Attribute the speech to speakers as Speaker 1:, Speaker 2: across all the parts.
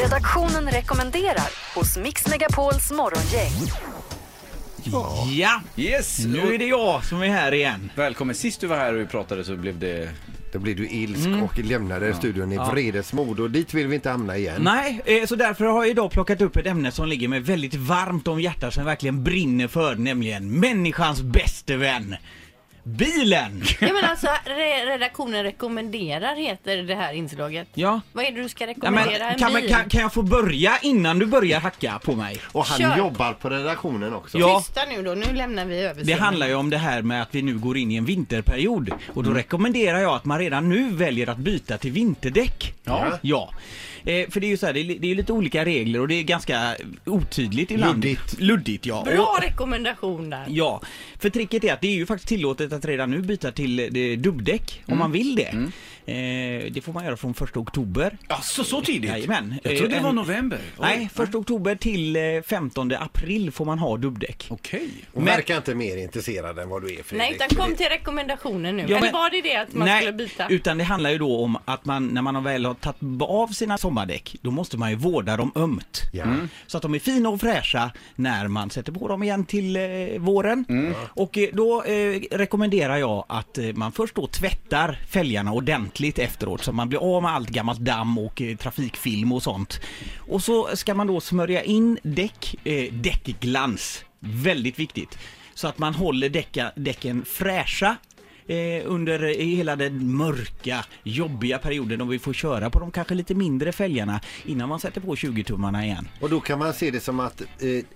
Speaker 1: Redaktionen rekommenderar hos Mix Megapols morgongäng.
Speaker 2: Ja,
Speaker 3: Yes!
Speaker 2: nu är det jag som är här igen.
Speaker 3: Välkommen. Sist du var här och vi pratade så blev det...
Speaker 4: Då blir du ilsk
Speaker 2: Mm.
Speaker 4: och lämnade studion i vredesmod och dit vill vi inte hamna igen.
Speaker 2: Nej, eh, så därför har jag idag plockat upp ett ämne som ligger mig väldigt varmt om hjärtat som jag verkligen brinner för, nämligen människans bäste vän. Bilen!
Speaker 5: Ja men alltså re redaktionen rekommenderar heter det här inslaget.
Speaker 2: Ja.
Speaker 5: Vad är det du ska
Speaker 2: Ja, men,
Speaker 5: rekommendera? en
Speaker 2: kan, man,
Speaker 5: bil?
Speaker 2: kan, kan jag få börja innan du börjar hacka på mig?
Speaker 4: Och han
Speaker 5: Kör.
Speaker 4: jobbar på redaktionen också.
Speaker 2: Ja.
Speaker 5: Tysta nu då, nu lämnar vi över.
Speaker 2: Det handlar ju om det här med att vi nu går in i en vinterperiod och då
Speaker 3: Mm.
Speaker 2: rekommenderar jag att man redan nu väljer att byta till vinterdäck.
Speaker 4: Ja.
Speaker 2: ja. Eh, för det är ju så här, det är, li- det är lite olika regler och det är ganska otydligt ibland.
Speaker 4: Luddigt.
Speaker 2: Luddigt ja.
Speaker 5: Bra rekommendation där.
Speaker 2: Ja, för tricket är att det är ju faktiskt tillåtet att redan nu byta till eh, det- dubbdäck
Speaker 3: Mm.
Speaker 2: om man vill det. Eh, det får man göra från 1 oktober.
Speaker 3: Alltså så tidigt?
Speaker 2: Jajamän.
Speaker 3: Jag trodde
Speaker 2: Eh,
Speaker 3: det var
Speaker 2: en-
Speaker 3: november. Oj.
Speaker 2: Nej, 1 oktober till eh, 15 april får man ha dubbdäck.
Speaker 3: Okej.
Speaker 4: Och verkar inte mer intresserad än vad du är Fredrik.
Speaker 5: Nej utan kom till rekommendationen nu.
Speaker 2: Ja,
Speaker 5: Eller
Speaker 2: men-
Speaker 5: var det det att man
Speaker 2: Nej,
Speaker 5: skulle byta?
Speaker 2: utan det handlar ju då om att man när man väl har tagit av sina sommardäck, då måste man ju vårda dem ömt.
Speaker 4: Ja.
Speaker 2: Så att de är fina och fräscha när man sätter på dem igen till eh, våren. Och eh, då eh, rekommenderar jag att eh, man först då tvättar fälgarna ordentligt efteråt så att man blir av med allt gammalt damm och eh, trafikfilm och sånt. Och så ska man då smörja in däck, eh, däckglans. Väldigt viktigt. Så att man håller däcka, däcken fräscha eh, under eh, hela den mörka, jobbiga perioden då vi får köra på de kanske lite mindre fälgarna innan man sätter på 20-tummarna igen.
Speaker 4: Och då kan man se det som att eh,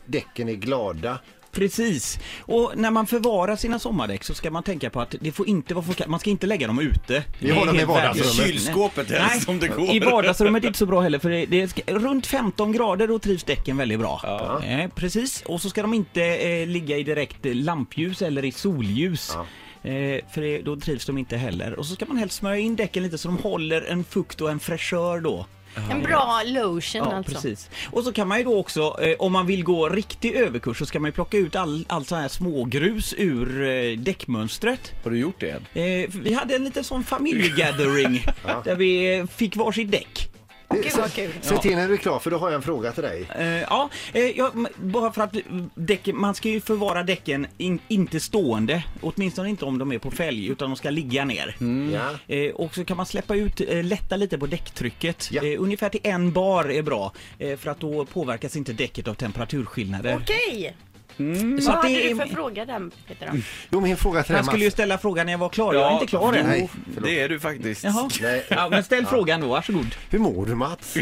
Speaker 4: däcken är glada.
Speaker 2: Precis. Och när man förvarar sina sommardäck så ska man tänka på att det får inte vara för... Man ska inte lägga dem ute.
Speaker 4: Vi har dem i
Speaker 2: helt
Speaker 4: vardagsrummet.
Speaker 2: värdelöst.
Speaker 3: I kylskåpet
Speaker 2: Nej.
Speaker 3: helst, om det går.
Speaker 2: I vardagsrummet är inte så bra heller för det, det ska, runt 15 grader då trivs däcken väldigt bra. Eh, precis. Och så ska de inte eh, ligga i direkt eh, lampljus eller i solljus. Eh, för det, då trivs de inte heller. Och så ska man helst smörja in däcken lite så de håller en fukt och en fräschör då.
Speaker 5: En bra lotion
Speaker 2: Ja,
Speaker 5: alltså.
Speaker 2: precis. Och så kan man ju då också, eh, om man vill gå riktig överkurs, så ska man ju plocka ut all, all sån här smågrus ur eh, däckmönstret.
Speaker 3: Har du gjort det än?
Speaker 2: Eh, vi hade en liten sån familjegathering där vi eh, fick varsitt däck.
Speaker 5: Gud vad kul.
Speaker 4: Se till när du är klar för då har jag en fråga till dig.
Speaker 2: Eh, ja, eh, ja, m- bara för att mm, däcken, man ska ju förvara däcken in, inte stående, åtminstone inte om de är på fälg, utan de ska ligga ner.
Speaker 4: Ja.
Speaker 2: Eh, och så kan man släppa ut, eh, lätta lite på däcktrycket.
Speaker 4: Ja.
Speaker 2: Eh, ungefär till en bar är bra, eh, för att då påverkas inte däcket av temperaturskillnader.
Speaker 5: Okej,
Speaker 2: Så
Speaker 5: vad
Speaker 2: att
Speaker 5: hade
Speaker 2: det,
Speaker 5: du för fråga där Peter? då?
Speaker 4: Jo, min fråga till dig
Speaker 2: han skulle ju
Speaker 4: Mats.
Speaker 2: ställa frågan när jag var klar, jag är inte klar än.
Speaker 4: Nej,
Speaker 3: Nej,
Speaker 4: förlåt.
Speaker 3: det är du faktiskt.
Speaker 2: Jaha.
Speaker 4: Nej.
Speaker 2: Ja, men ställ frågan då, varsågod.
Speaker 4: Hur mår du Mats?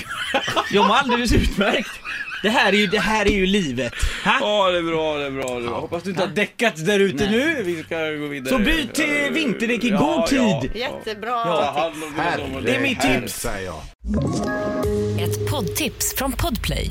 Speaker 2: Jag mår alldeles utmärkt. Det här är ju, det här är ju livet. Ha?
Speaker 3: Ja, det är bra, det är bra. Det är bra. Hoppas du inte har däckat där ute nu. Vi ska gå vidare.
Speaker 2: Så byt till vinterdäck i god tid.
Speaker 5: Jättebra.
Speaker 3: Ta hand om dina
Speaker 4: Herre,
Speaker 3: sommardäck.
Speaker 2: Det är mitt
Speaker 4: herre,
Speaker 2: tips.
Speaker 4: säger jag.
Speaker 6: Ett poddtips från Podplay.